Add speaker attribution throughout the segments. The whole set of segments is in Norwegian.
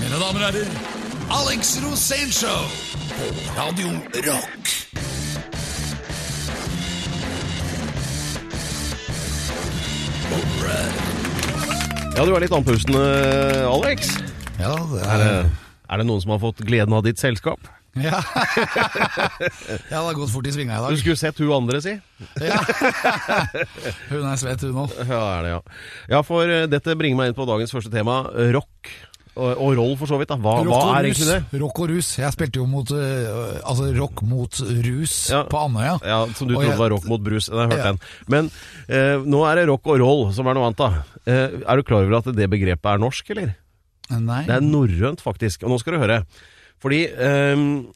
Speaker 1: Mine damer og herrer, Alex Rosénshow på Radio Rock.
Speaker 2: Ja, du er litt andpusten, eh, Alex.
Speaker 1: Ja, det
Speaker 2: Er
Speaker 1: er
Speaker 2: det, er det noen som har fått gleden av ditt selskap?
Speaker 1: Ja, ja det har gått fort i svinga i
Speaker 2: Du
Speaker 1: dag.
Speaker 2: skulle sett hun andre, si.
Speaker 1: Hun er svett, hun òg.
Speaker 2: Ja, er det, ja. ja for eh, dette bringer meg inn på dagens første tema, eh, rock. Og, og roll, for så vidt. da Hva, hva er egentlig det?
Speaker 1: Rock og rus. Jeg spilte jo mot øh, Altså rock mot rus
Speaker 2: Ja.
Speaker 1: på Andøya.
Speaker 2: Ja, Som du
Speaker 1: Og
Speaker 2: trodde
Speaker 1: jeg-
Speaker 2: var rock mot brus. Jeg har hørt
Speaker 1: Ja.
Speaker 2: den. Men eh, nå er det rock og roll som er noe annet, da. Eh, er du klar over at det begrepet er norsk, eller?
Speaker 1: Nei.
Speaker 2: Det er norrønt, faktisk. Og nå skal du høre. Fordi ehm,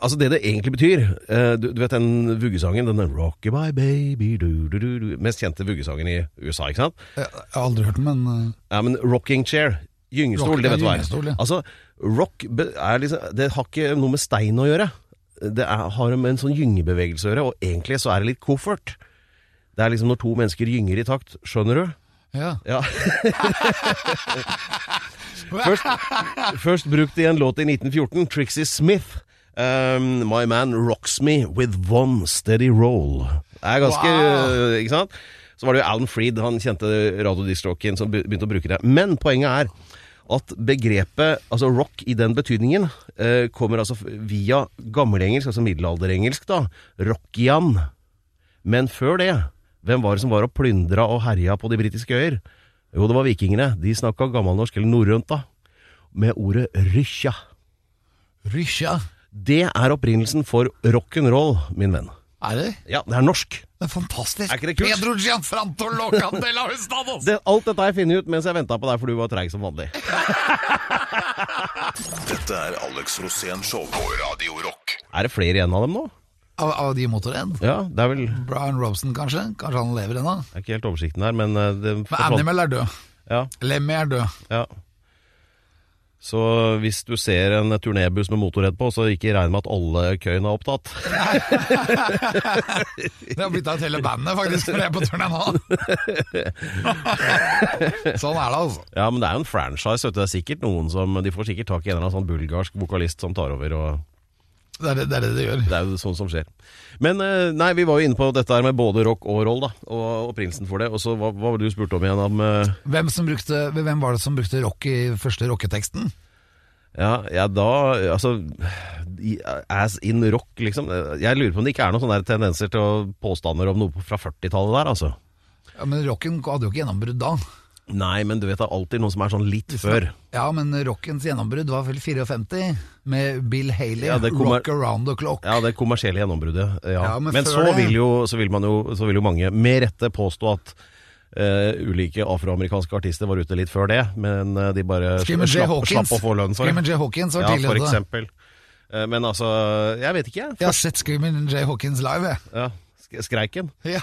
Speaker 2: Altså, det det egentlig betyr eh, du, du vet den vuggesangen? Denne 'Rocky my baby' du, du, du, du, Mest kjente vuggesangen i USA, ikke sant?
Speaker 1: Jeg har aldri hørt den, men øh,
Speaker 2: Ja, men rocking chair. Gyngestol,
Speaker 1: Rock-
Speaker 2: det vet du
Speaker 1: ja,
Speaker 2: hva
Speaker 1: gyngestol,
Speaker 2: er.
Speaker 1: ja.
Speaker 2: Altså, rock be- er liksom Det har ikke noe med stein å gjøre. Det er, har med en sånn gyngebevegelse å gjøre, og egentlig så er det litt koffert. Det er liksom når to mennesker gynger i takt, skjønner du?
Speaker 1: eh, ja.
Speaker 2: Ja. først, først brukt i en låt i 1914, Trixie Smith. Um, My man rocks me with one steady roll. Det er ganske
Speaker 1: Wow.
Speaker 2: øh, Ikke sant? Så var det jo Alan Freed, han kjente radiodiskjockeyen, som be- begynte å bruke det. Men poenget er at begrepet altså rock i den betydningen eh, kommer altså f- via gammelengelsk, altså middelalderengelsk, da. Rockian. Men før det, hvem var det som var og plyndra og herja på de britiske øyer? Jo, det var vikingene. De snakka gammelnorsk, eller norrønt, da, med ordet rykkja.
Speaker 1: Rysja.
Speaker 2: Det er opprinnelsen for rock'n'roll, min venn.
Speaker 1: Er det?
Speaker 2: Ja, det er norsk.
Speaker 1: det er fantastisk.
Speaker 2: Er ikke det kult?
Speaker 1: Pedro Gianfranto Locandela Hustados.
Speaker 2: Det, alt dette har jeg funnet ut mens jeg venta på deg, for du var treig som vanlig.
Speaker 3: Dette er Alex Rosén Show på Radio Rock.
Speaker 2: Er det flere igjen av dem nå?
Speaker 1: Av, av de i Motorhead?
Speaker 2: Ja, det er vel Det
Speaker 1: Brian Robson, kanskje? Kanskje han lever ennå?
Speaker 2: er ikke helt oversikten her, men eh, det
Speaker 1: Men Animal er død.
Speaker 2: Ja,
Speaker 1: Lemmy er død.
Speaker 2: ja. Så hvis du ser en turnébuss med motorhead på, så ikke regn med at alle køyene er opptatt.
Speaker 1: Det har blitt av hele bandet, faktisk, når jeg er på turné nå. sånn er det, altså.
Speaker 2: Ja, men det er jo en franchise, vet du. Det er sikkert noen som De får sikkert tak i en eller annen sånn bulgarsk vokalist som tar over, og
Speaker 1: Det er det det, er det, det gjør.
Speaker 2: det er jo sånn som skjer. Men eh, nei, vi var jo inne på dette her med både rock og roll, da, og opprindelsen for det. Og så hva, hva var det du spurte om igjen, om eh,
Speaker 1: Hvem, som brukte, hvem var det som brukte rock i første rocketeksten?
Speaker 2: ja, ja, da Altså i- Ass in rock, liksom. Jeg lurer på om det ikke er noen sånne der tendenser til å påstander om noe fra 40-tallet der, altså.
Speaker 1: Ja, men rocken hadde jo ikke gjennombrudd da.
Speaker 2: Nei, men du vet det er alltid noen som er sånn litt før.
Speaker 1: Ja, men rockens gjennombrudd var vel 54, med Bill Haley,
Speaker 2: Ja, det kommer-
Speaker 1: Rock Around the Clock.
Speaker 2: Ja, det kommersielle gjennombruddet. Ja.
Speaker 1: Ja, men
Speaker 2: men
Speaker 1: før
Speaker 2: så,
Speaker 1: det-
Speaker 2: vil jo, så, vil man jo, så vil jo mange med rette påstå at eh, ulike afroamerikanske artister var ute litt før det, men eh, de bare
Speaker 1: Screamin' Jay
Speaker 2: slapp,
Speaker 1: Hawkins.
Speaker 2: slapp å få lønn for
Speaker 1: Screamin'
Speaker 2: det.
Speaker 1: Jay Hawkins var
Speaker 2: Ja, for
Speaker 1: tidligere. da.
Speaker 2: eksempel. Eh, men altså, jeg vet ikke, jeg.
Speaker 1: Jeg har sett Screamin' Jay Hawkins live, jeg.
Speaker 2: Ja, sk- skreiken.
Speaker 1: Ja,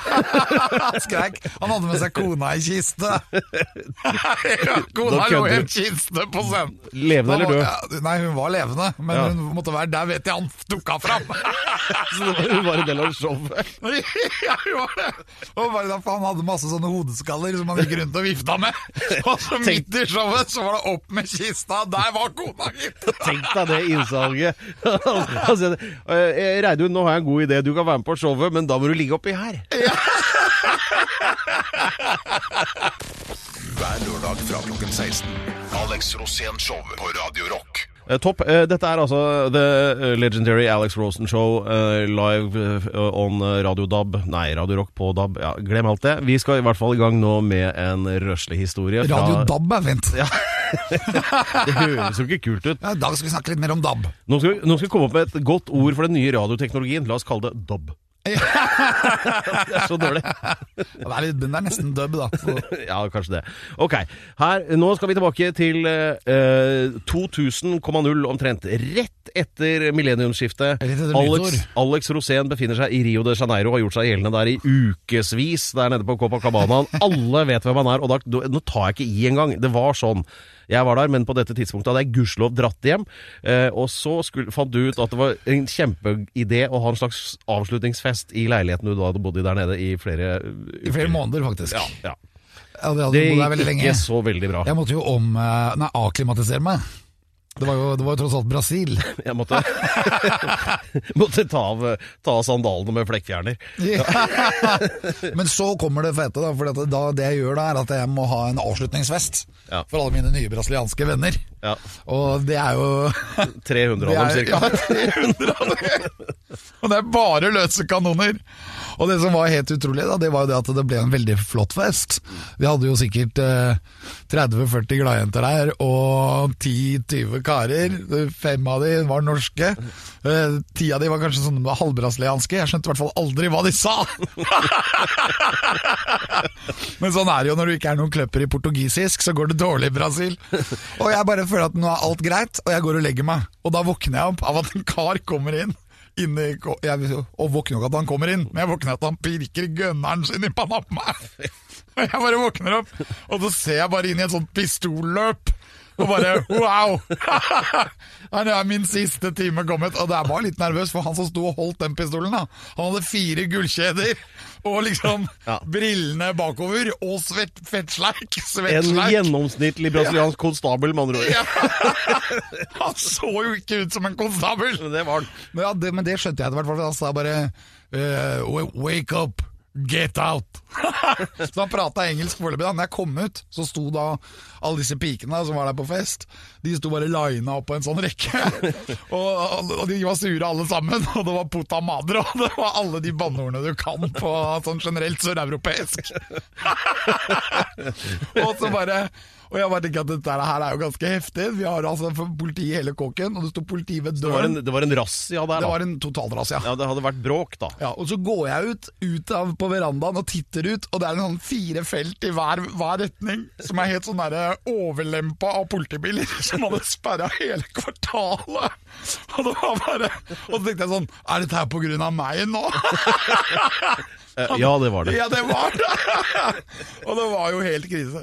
Speaker 1: skrek. Han hadde med seg kona i kiste. Ja, kona
Speaker 2: Da
Speaker 1: lå i
Speaker 2: kødder
Speaker 1: en
Speaker 2: du.
Speaker 1: kiste på scenen.
Speaker 2: Levende eller
Speaker 1: Da
Speaker 2: død?
Speaker 1: var- ja, Nei, hun var levende, men
Speaker 2: Ja.
Speaker 1: hun måtte være der, vet jeg, han dukka fram.
Speaker 2: Så det var- det var en del av showet.
Speaker 1: ja, hun var det. Og bare derfor han hadde masse sånne hodeskaller som han gikk rundt og vifta med. Og så midt i showet så var det opp med kista, der var kona, gitt.
Speaker 2: Tenk deg det innsalget. Han sier, eh, Reidun, nå har jeg en god idé. Du kan være med på showet, men da må du ligge oppi her.
Speaker 3: Hver lørdag fra klokken 16. Alex Rosén Show på Radio Rock.
Speaker 2: Eh, Topp. Eh, Dette er altså The Legendary Alex Rosen Show eh, live eh, on Radio DAB. Nei, Radio Rock på DAB. Ja, glem alt det. Vi skal i hvert fall i gang nå med en røslig historie. fra-
Speaker 1: Radio DAB er fint.
Speaker 2: Det høres jo ikke kult ut.
Speaker 1: Ja, I dag skal vi snakke litt mer om DAB.
Speaker 2: Nå skal, vi, nå skal vi komme opp med et godt ord for den nye radioteknologien. La oss kalle det DAB. det er så dårlig.
Speaker 1: Det er, litt, det er nesten dub, da. Så.
Speaker 2: Ja, kanskje det. Ok, her, nå skal vi tilbake til eh, 2000,0 omtrent. Rett etter millenniumsskiftet.
Speaker 1: Rett etter
Speaker 2: Alex,
Speaker 1: nyttår.
Speaker 2: Alex Rosén befinner seg i Rio de Janeiro og har gjort seg gjeldende der i ukevis. Der nede på Copacabana. Alle vet hvem han er, og da, nå tar jeg ikke i engang. Det var sånn. Jeg var der, men på dette tidspunktet hadde jeg gudskjelov dratt hjem. Eh, og så skulle, fant du ut at det var en kjempeidé å ha en slags avslutningsfest i leiligheten du da hadde bodd i der nede i flere
Speaker 1: I flere måneder, faktisk.
Speaker 2: Ja, ja.
Speaker 1: Ja, det hadde
Speaker 2: Det
Speaker 1: bodd der veldig
Speaker 2: gikk
Speaker 1: lenge.
Speaker 2: ikke så veldig bra.
Speaker 1: Jeg måtte jo om, eh, nei, akklimatisere meg. Det var jo, det var jo tross alt Brasil.
Speaker 2: Jeg måtte, måtte ta, av, ta av sandalene med flekkfjerner.
Speaker 1: Men så kommer det fete, da. For da, det jeg gjør da, er at jeg må ha en avslutningsfest
Speaker 2: Ja.
Speaker 1: for alle mine nye brasilianske venner.
Speaker 2: Ja,
Speaker 1: Og det er jo
Speaker 2: 300 av dem
Speaker 1: Det er-
Speaker 2: ca.
Speaker 1: Og det er bare løse kanoner. Og det som var helt utrolig, da, det var jo det at det ble en veldig flott fest. Vi hadde jo sikkert eh, 30-40 gladjenter der, og 10-20 karer. Fem av de var norske. Eh, Ti av de var kanskje sånne halvbrasilianske. Jeg skjønte i hvert fall aldri hva de sa! Men sånn er det jo når du ikke er noen kløpper i portugisisk, så går det dårlig i Brasil. Og jeg bare føler at nå er alt greit, og jeg går og legger meg. Og da våkner jeg opp av at en kar kommer inn. Inne, i ko- jeg, og våkner jo ikke at han kommer inn, men jeg våkner at han pirker gønneren sin i panna på meg. Og jeg bare våkner opp, og så ser jeg bare inn i et sånt pistolløp. Og bare wow! Her er min siste time kommet. Og jeg var litt nervøs, for han som sto og holdt den pistolen, da, han hadde fire gullkjeder og liksom
Speaker 2: Ja.
Speaker 1: brillene bakover og svett, fettsleik.
Speaker 2: En
Speaker 1: Svettsleik.
Speaker 2: gjennomsnittlig brasiliansk konstabel, med andre ord.
Speaker 1: Ja. Han så jo ikke ut som en konstabel!
Speaker 2: Men Det var den.
Speaker 1: Men, ja, det, men det skjønte jeg etter hvert, for han sa bare eh, «Wa- Wake up, get out! så han prata engelsk foreløpig. Da Når jeg kom ut, så sto da alle disse pikene som var der på fest, de sto bare lina opp på en sånn rekke. og, og, og de var sure alle sammen, og det var puta madre, og det var alle de banneordene du kan på sånn generelt søreuropeisk. og så bare og jeg bare tenker at dette her er jo ganske heftig. Vi har altså politi i hele kåken, og det sto politi ved
Speaker 2: Det var
Speaker 1: døren.
Speaker 2: en, det var en razzia der,
Speaker 1: Det var
Speaker 2: da.
Speaker 1: en totalras, ja.
Speaker 2: Ja, det hadde vært bråk, da.
Speaker 1: ja. Og så går jeg ut, ut av, på verandaen og titter ut, og det er en sånn fire felt i hver, hver retning, som er helt sånn der overlempa av politibiler, som hadde sperra hele kvartalet. Og det var bare Og så tenkte jeg sånn Er dette her på grunn av meg nå?
Speaker 2: Eh, Ja, det var det.
Speaker 1: Ja, det var det! Og det var jo helt krise.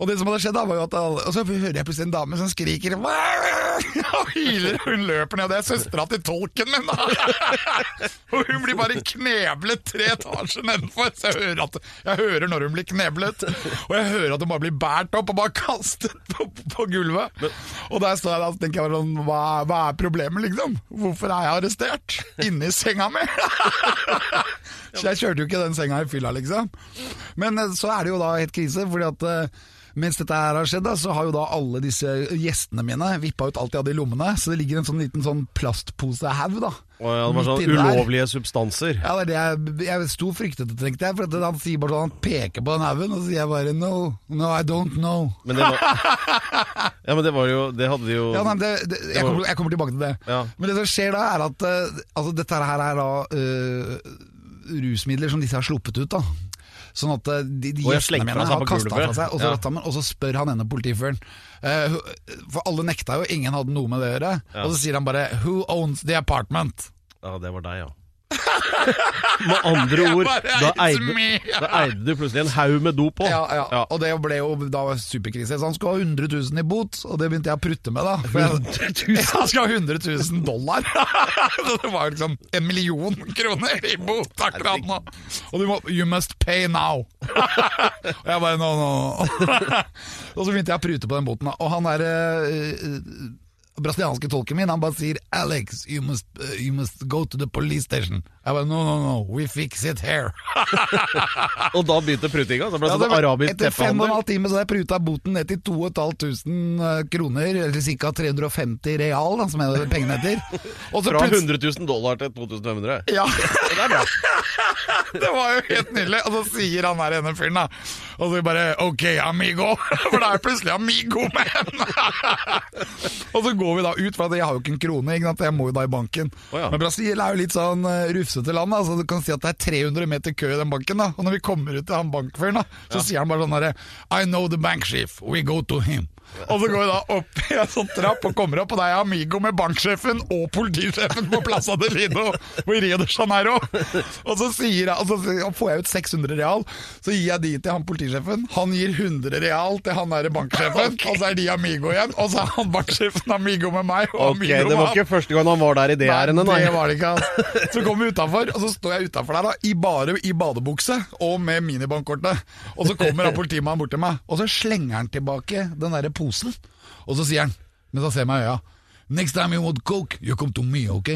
Speaker 1: Og det som hadde skjedd, da var jo at alle, Og så hører jeg plutselig en dame som skriker og hyler. Hun løper ned, og det er søstera til tolken min! da. Og hun blir bare kneblet tre etasjer nedenfor. Så jeg hører, at, jeg hører når hun blir kneblet, og jeg hører at hun bare blir båret opp og bare kastet på, på gulvet. Og der står jeg da og tenker jeg bare sånn hva, hva er problemet, liksom? Hvorfor er jeg arrestert? Inni senga mi? Så jeg kjørte jo ikke den senga i fylla, liksom. Men eh, så er det jo da helt krise, fordi at eh, mens dette her har skjedd, da, så har jo da alle disse gjestene mine vippa ut alt de hadde i lommene, så det ligger en sånn liten sånn plastposehaug, da.
Speaker 2: Og ja, det var
Speaker 1: midt
Speaker 2: sånn
Speaker 1: inni der.
Speaker 2: ulovlige substanser.
Speaker 1: Ja, det er det jeg, jeg sto fryktet det, tenkte jeg. For at han sier bare sånn, han peker på den haugen, og så sier jeg bare no, no, I don't know.
Speaker 2: Men det var, ja, men det var jo Det hadde de jo
Speaker 1: Ja, nei, men det, det, jeg, kommer, jeg kommer tilbake til det.
Speaker 2: Ja.
Speaker 1: Men det som skjer da, er at eh, altså, dette her er da eh, rusmidler som disse har sluppet ut. da. Sånn at eh, de, de
Speaker 2: Og jeg
Speaker 1: gjestene
Speaker 2: slengte
Speaker 1: mine
Speaker 2: meg sammen
Speaker 1: har
Speaker 2: på
Speaker 1: kasta fra
Speaker 2: gulvet.
Speaker 1: seg, og så,
Speaker 2: Ja.
Speaker 1: ratt han meg, og så spør han ene politiføren. eh, hu- for alle nekta jo, ingen hadde noe med det å gjøre. Og så sier han bare 'Who owns the apartment?'
Speaker 2: Ja, det var deg, ja. Med andre ord,
Speaker 1: bare-
Speaker 2: da eide,
Speaker 1: It's me.
Speaker 2: da eide du plutselig en haug med dop på.
Speaker 1: Ja, ja. Og det ble jo da superkrise. Så han skulle ha 100 000 i bot, og det begynte jeg å prutte med, da. For jeg,
Speaker 2: 100 000?
Speaker 1: Ja, han skulle ha 100 000 dollar! Så det var jo liksom en million kroner i bot akkurat nå. Og du må You must pay now! og jeg bare no, no. og så begynte jeg å prute på den boten, da. Og han der eh, eh, brasilianske tolken min, han bare sier 'Alex, you must, eh, you must go to the police station'. Jeg bare no, no, no, we fix it here.
Speaker 2: Og da begynte prutinga. Da ble det
Speaker 1: Ja, det
Speaker 2: sånn
Speaker 1: var-
Speaker 2: arabisk
Speaker 1: Etter fem og en
Speaker 2: teppehandel.
Speaker 1: halv time så hadde jeg pruta boten ned til 2500 eh, kroner, eller ca. 350 real, da, som er det pengene heter. Og så
Speaker 2: Fra
Speaker 1: plutselig-
Speaker 2: 100 000 dollar til 2500.
Speaker 1: Ja,
Speaker 2: Det er bra.
Speaker 1: det var jo helt nydelig. Og så sier han der ene fyren, da. Og så bare OK, amigo. For da er jeg plutselig amigo med henne. Og så går vi da ut, for at jeg har jo ikke en krone. Ikke sant? Jeg må jo da i banken.
Speaker 2: Å ja.
Speaker 1: Men Brasil er jo litt sånn eh, rufsete land, da, så du kan si at det er 300 meter kø i den banken. da Og når vi kommer ut til han bankføren, da så sier han bare sånn herre I know the bank chief, we go to him. Og så går vi da opp i en sånn trapp og kommer opp, og det er Amigo med banksjefen og politisjefen på Plaza de Lido i Rio de Janeiro. Og så, sier jeg, og så sier- og får jeg ut 600 real, så gir jeg de til han politisjefen. Han gir 100 real til han derre banksjefen, og så er de Amigo igjen. Og så er han banksjefen Amigo med meg. Og
Speaker 2: Ok,
Speaker 1: Amigo
Speaker 2: Det
Speaker 1: med
Speaker 2: var
Speaker 1: han.
Speaker 2: ikke første gang han var der i det ærendet,
Speaker 1: Nei,
Speaker 2: nei.
Speaker 1: det var det ikke. Altså. Så kom vi utafor, og så står jeg utafor der da, i bare i badebukse og med minibankkortet. Og så kommer da politimannen bort til meg, og så slenger han tilbake den derre posen. Og så sier han Men så ser jeg meg i øya. Next time you want coke, you come to me, ok?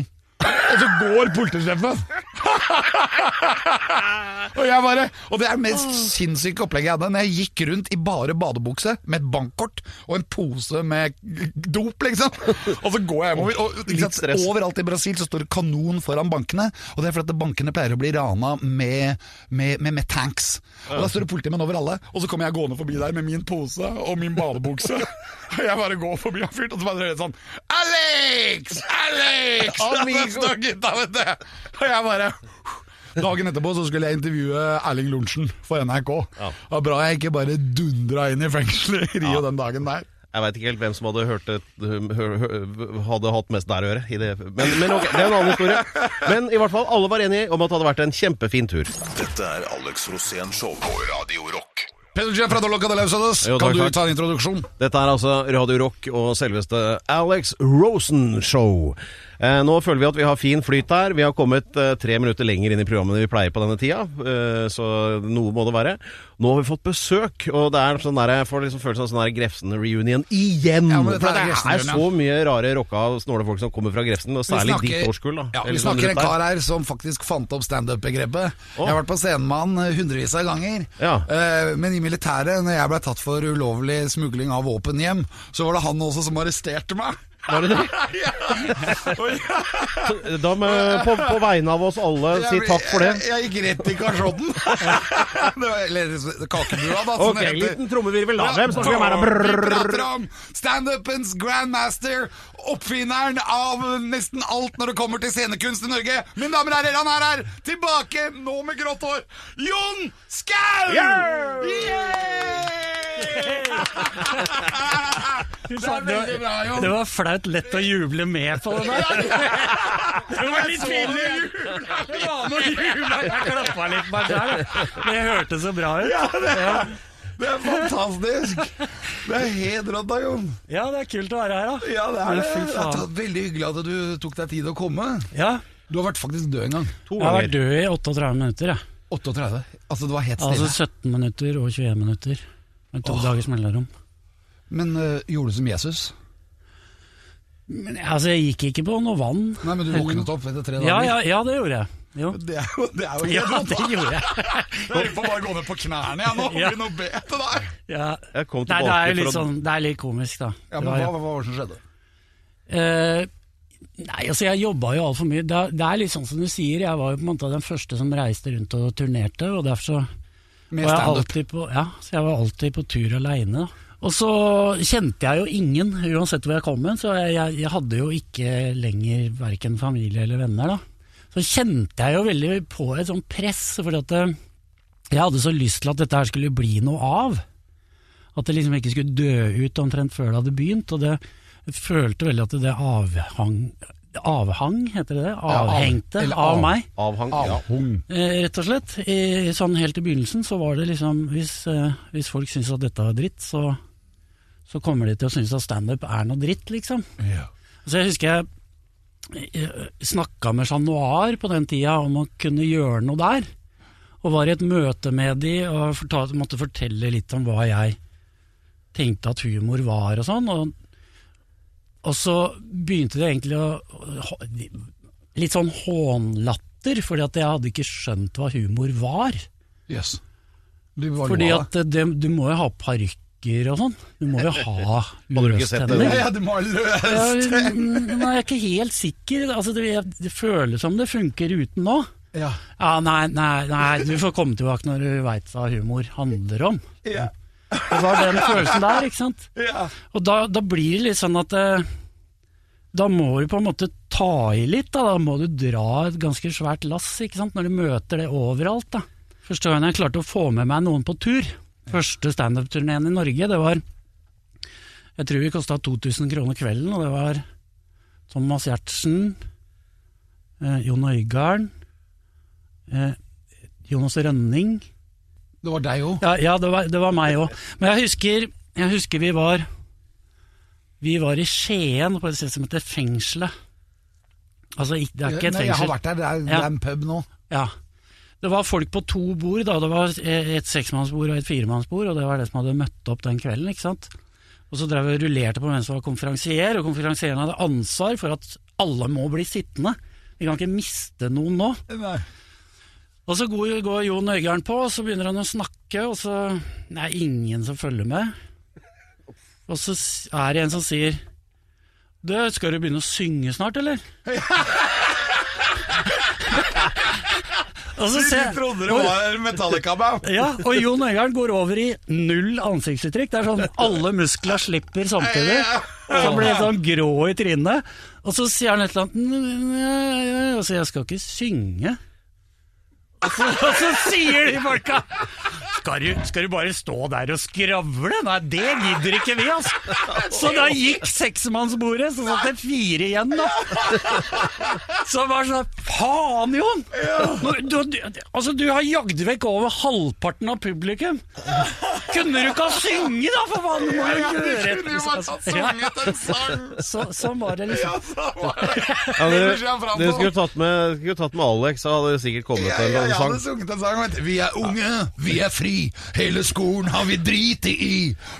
Speaker 1: Og så går politisjefen! og jeg bare Og det er det mest sinnssyke opplegget jeg hadde. Når jeg gikk rundt i bare badebukse med et bankkort og en pose med dop, liksom. Og så går jeg hjemover. Og ikke
Speaker 2: Litt
Speaker 1: sant,
Speaker 2: stress.
Speaker 1: overalt i Brasil så står det kanon foran bankene. Og det er fordi at bankene pleier å bli rana med, med, med, med tanks. Og da står det politimenn over alle. Og så kommer jeg gående forbi der med min pose og min badebukse. Og jeg bare går forbi han fyren, og så bare hører jeg sånn Alex! Alex!
Speaker 2: Amigo!
Speaker 1: Så gutta, vet du. Og jeg bare Dagen etterpå så skulle jeg intervjue Erling Lorentzen for NRK.
Speaker 2: Ja.
Speaker 1: Det var bra jeg ikke bare dundra inn i fengselet i Rio den dagen der.
Speaker 2: Jeg veit ikke helt hvem som hadde, hørt et, hø- hø- hadde hatt mest der å gjøre. I det. Men, men ok, det er en annen historie. Men i hvert fall, alle var enige om at det hadde vært en kjempefin tur.
Speaker 3: Dette er Alex Rosén Show på Radio Rock.
Speaker 1: Pedro Jeff fra Dolloca de Lausadas,
Speaker 2: Jo,
Speaker 1: kan
Speaker 2: takk,
Speaker 1: du
Speaker 2: takk.
Speaker 1: ta en introduksjon?
Speaker 2: Dette er altså Radio Rock og selveste Alex Rosen Show. Eh, nå føler vi at vi har fin flyt her. Vi har kommet eh, tre minutter lenger inn i programmene vi pleier på denne tida, eh, så noe må det være. Nå har vi fått besøk, og det er sånn der, jeg får liksom følelsen av sånn der Grefsen reunion igjen.
Speaker 1: Ja, men dette
Speaker 2: For
Speaker 1: er
Speaker 2: det
Speaker 1: Grefsen
Speaker 2: er
Speaker 1: reunion,
Speaker 2: så mye rare rocka og snåle folk som kommer fra Grefsen, og
Speaker 1: Vi
Speaker 2: særlig
Speaker 1: snakker-
Speaker 2: ditt årskull. da.
Speaker 1: Ja, vi
Speaker 2: Eller sånn
Speaker 1: snakker en
Speaker 2: rundt der.
Speaker 1: kar her som faktisk fant opp standup-begrepet.
Speaker 2: Å.
Speaker 1: Jeg har vært på scenen med han eh, hundrevis av ganger.
Speaker 2: Ja.
Speaker 1: Eh, Men i militæret, når jeg ble tatt for ulovlig smugling av våpen hjem, så var det han også som arresterte meg.
Speaker 2: Var det det?
Speaker 1: Ja. Og jeg-
Speaker 2: Så Da må, på, på vegne av oss alle si
Speaker 1: jeg-
Speaker 2: takk for det.
Speaker 1: Jeg, jeg gikk rett i kasjotten. Det var- Eller kakebua, da. som
Speaker 2: Ok,
Speaker 1: det heter.
Speaker 2: sånn liten trommevirvel. da. Hvem snakker vi om her? da?
Speaker 1: Vi
Speaker 2: Brrrr.
Speaker 1: prater om standupens grandmaster, oppfinneren av nesten alt når det kommer til scenekunst i Norge. Mine damer og herrer, han er her, tilbake, nå med grått hår, Jon Skau!
Speaker 2: Yeah!
Speaker 1: Yeah! Det er veldig bra, Jon.
Speaker 4: Det var flaut lett å juble med på den der. Det var litt pinlig. Det var noe jubel. Jeg klappa litt meg der. Men det hørtes så bra ut.
Speaker 1: Det er fantastisk. Det er helt rått da, Jon.
Speaker 4: Ja, det er kult å være her, da.
Speaker 1: Ja, det er
Speaker 4: Men
Speaker 1: det.
Speaker 4: fy
Speaker 1: Det
Speaker 4: faen.
Speaker 1: er veldig hyggelig at du tok deg tid å komme.
Speaker 4: Ja,
Speaker 1: Du har vært faktisk død en gang.
Speaker 2: To
Speaker 4: jeg har vært
Speaker 2: ganger.
Speaker 4: død i 38 minutter, jeg.
Speaker 1: 38. Altså, det var helt stille.
Speaker 4: Altså 17 minutter og 21 minutter. Med to dagers mellomrom.
Speaker 1: Men øh, gjorde du som Jesus?
Speaker 4: Men altså, jeg gikk ikke på noe vann.
Speaker 1: Nei, men du våknet opp etter tre dager.
Speaker 4: Ja, ja, ja det gjorde jeg. Jo.
Speaker 1: Det er jo, det er jo
Speaker 4: Ja,
Speaker 1: helt
Speaker 4: det
Speaker 1: rått.
Speaker 4: gjorde jeg.
Speaker 1: Jeg får bare gå ned på knærne jeg nå og
Speaker 4: Ja.
Speaker 1: begynne å be til deg.
Speaker 4: Ja.
Speaker 2: Jeg kom
Speaker 4: Nei, det er jo
Speaker 2: tilbake
Speaker 4: litt
Speaker 2: for å
Speaker 4: sånn, det er litt komisk, da.
Speaker 1: Ja, men
Speaker 4: Det var-
Speaker 1: hva, hva var det som skjedde?
Speaker 4: Eh, nei, altså jeg jobba jo altfor mye. Det er, det er litt sånn som du sier, jeg var jo på en måte den første som reiste rundt og turnerte, og derfor så
Speaker 1: Med
Speaker 4: var jeg
Speaker 1: standup.
Speaker 4: alltid på, ja, så jeg var alltid på tur aleine. Og så kjente jeg jo ingen, uansett hvor jeg kom hen, så jeg, jeg, jeg hadde jo ikke lenger verken familie eller venner, da. Så kjente jeg jo veldig på et sånt press, fordi at eh, jeg hadde så lyst til at dette her skulle bli noe av. At det liksom ikke skulle dø ut omtrent før det hadde begynt. Og det jeg følte veldig at det avhang Avhang, heter det det?
Speaker 1: av-
Speaker 4: Avhengte
Speaker 1: eller av.
Speaker 4: av meg.
Speaker 2: avhang. Ja.
Speaker 1: Avhung.
Speaker 4: Eh, rett og slett. I, sånn helt i begynnelsen så var det liksom Hvis, eh, hvis folk syns at dette er dritt, så, så kommer de til å synes at standup er noe dritt, liksom.
Speaker 1: Ja.
Speaker 4: Så jeg husker jeg snakka med Chat Noir på den tida om å kunne gjøre noe der. Og var i et møte med de og fortalte, måtte fortelle litt om hva jeg tenkte at humor var og sånn. Og, og så begynte det egentlig å Litt sånn hånlatter, fordi at jeg hadde ikke skjønt hva humor var.
Speaker 1: Yes. Du var
Speaker 4: Fordi
Speaker 1: noe av det.
Speaker 4: at eh, det, du må jo ha parykker og sånn. Du må jo ha
Speaker 2: du ikke sett det?
Speaker 4: løstenner.
Speaker 1: ja, du må ha løs!
Speaker 4: Ja, mm, nei, jeg er ikke helt sikker. Altså, det, jeg, det føles som det funker uten nå.
Speaker 1: Ja.
Speaker 4: Ja, nei, nei, nei, du får komme tilbake når du veit hva humor handler om.
Speaker 1: Ja.
Speaker 4: Det var den følelsen der, ikke sant.
Speaker 1: Ja.
Speaker 4: Og da, da blir det litt sånn at eh, da må du på en måte ta i litt, da. da må du dra et ganske svært lass ikke sant? når du møter det overalt. da. Første gangen jeg klarte å få med meg noen på tur, første standup-turneen i Norge, det var Jeg tror vi kosta 2000 kroner kvelden, og det var Thomas Giertsen, eh, Jon Øigarden, eh, Jonas Rønning
Speaker 1: Det var deg òg.
Speaker 4: ja, ja det, var, det var meg òg. Men jeg husker, jeg husker vi var Vi var i Skien, på et sted som heter Fengselet. Altså, ikke- det er ikke et
Speaker 1: Nei, Jeg har
Speaker 4: fengsel.
Speaker 1: vært der, det er, det
Speaker 4: Ja.
Speaker 1: er en pub nå.
Speaker 4: Ja. Det var folk på to bord. da Det var eh, et seksmannsbord og et firemannsbord, og det var det som hadde møtt opp den kvelden. ikke sant? Og så drev jeg og rullerte på hvem som var konferansier, og konferansieren hadde ansvar for at alle må bli sittende. Vi kan ikke miste noen nå.
Speaker 1: Nei.
Speaker 4: Og så går, går Jon Øigarden på, og så begynner han å snakke, og så det er ingen som følger med. Og så s- er det en som sier Du, skal du begynne å synge snart, eller? og så ser,
Speaker 1: trodde det var Metallica-band.
Speaker 4: ja, og Jon Øigarden går over i null ansiktsuttrykk. Det er sånn alle muskler slipper samtidig. Så blir det sånn grå i trynet. Og så sier han et eller annet «N- n- n- Og så sier jeg skal ikke synge. Og så, og så sier de folka skal du, skal du bare stå der og skravle? Nei, det gidder ikke vi, altså. Så da gikk seksmannsbordet, så satt det fire igjen, da. Så var det sånn Faen, Jon! Nå- Du, du, altså, du har jagd vekk over halvparten av publikum. Kunne du ikke ha synge, da, for faen? Du må jo gjøre et Ja,
Speaker 1: sånn sunget en sang!
Speaker 4: så, Sånn var det liksom.
Speaker 2: Ja,
Speaker 1: Det
Speaker 2: dere,
Speaker 1: vil skje fram
Speaker 2: dere
Speaker 1: på.
Speaker 2: skulle tatt med, skulle tatt med Alex, så hadde det sikkert kommet
Speaker 1: Jeg,
Speaker 2: en
Speaker 1: jeg,
Speaker 2: eller
Speaker 1: jeg
Speaker 2: annen
Speaker 1: hadde
Speaker 2: sang.
Speaker 1: sunget en sang om at vi er unge, vi er fri, hele skolen har vi driti i.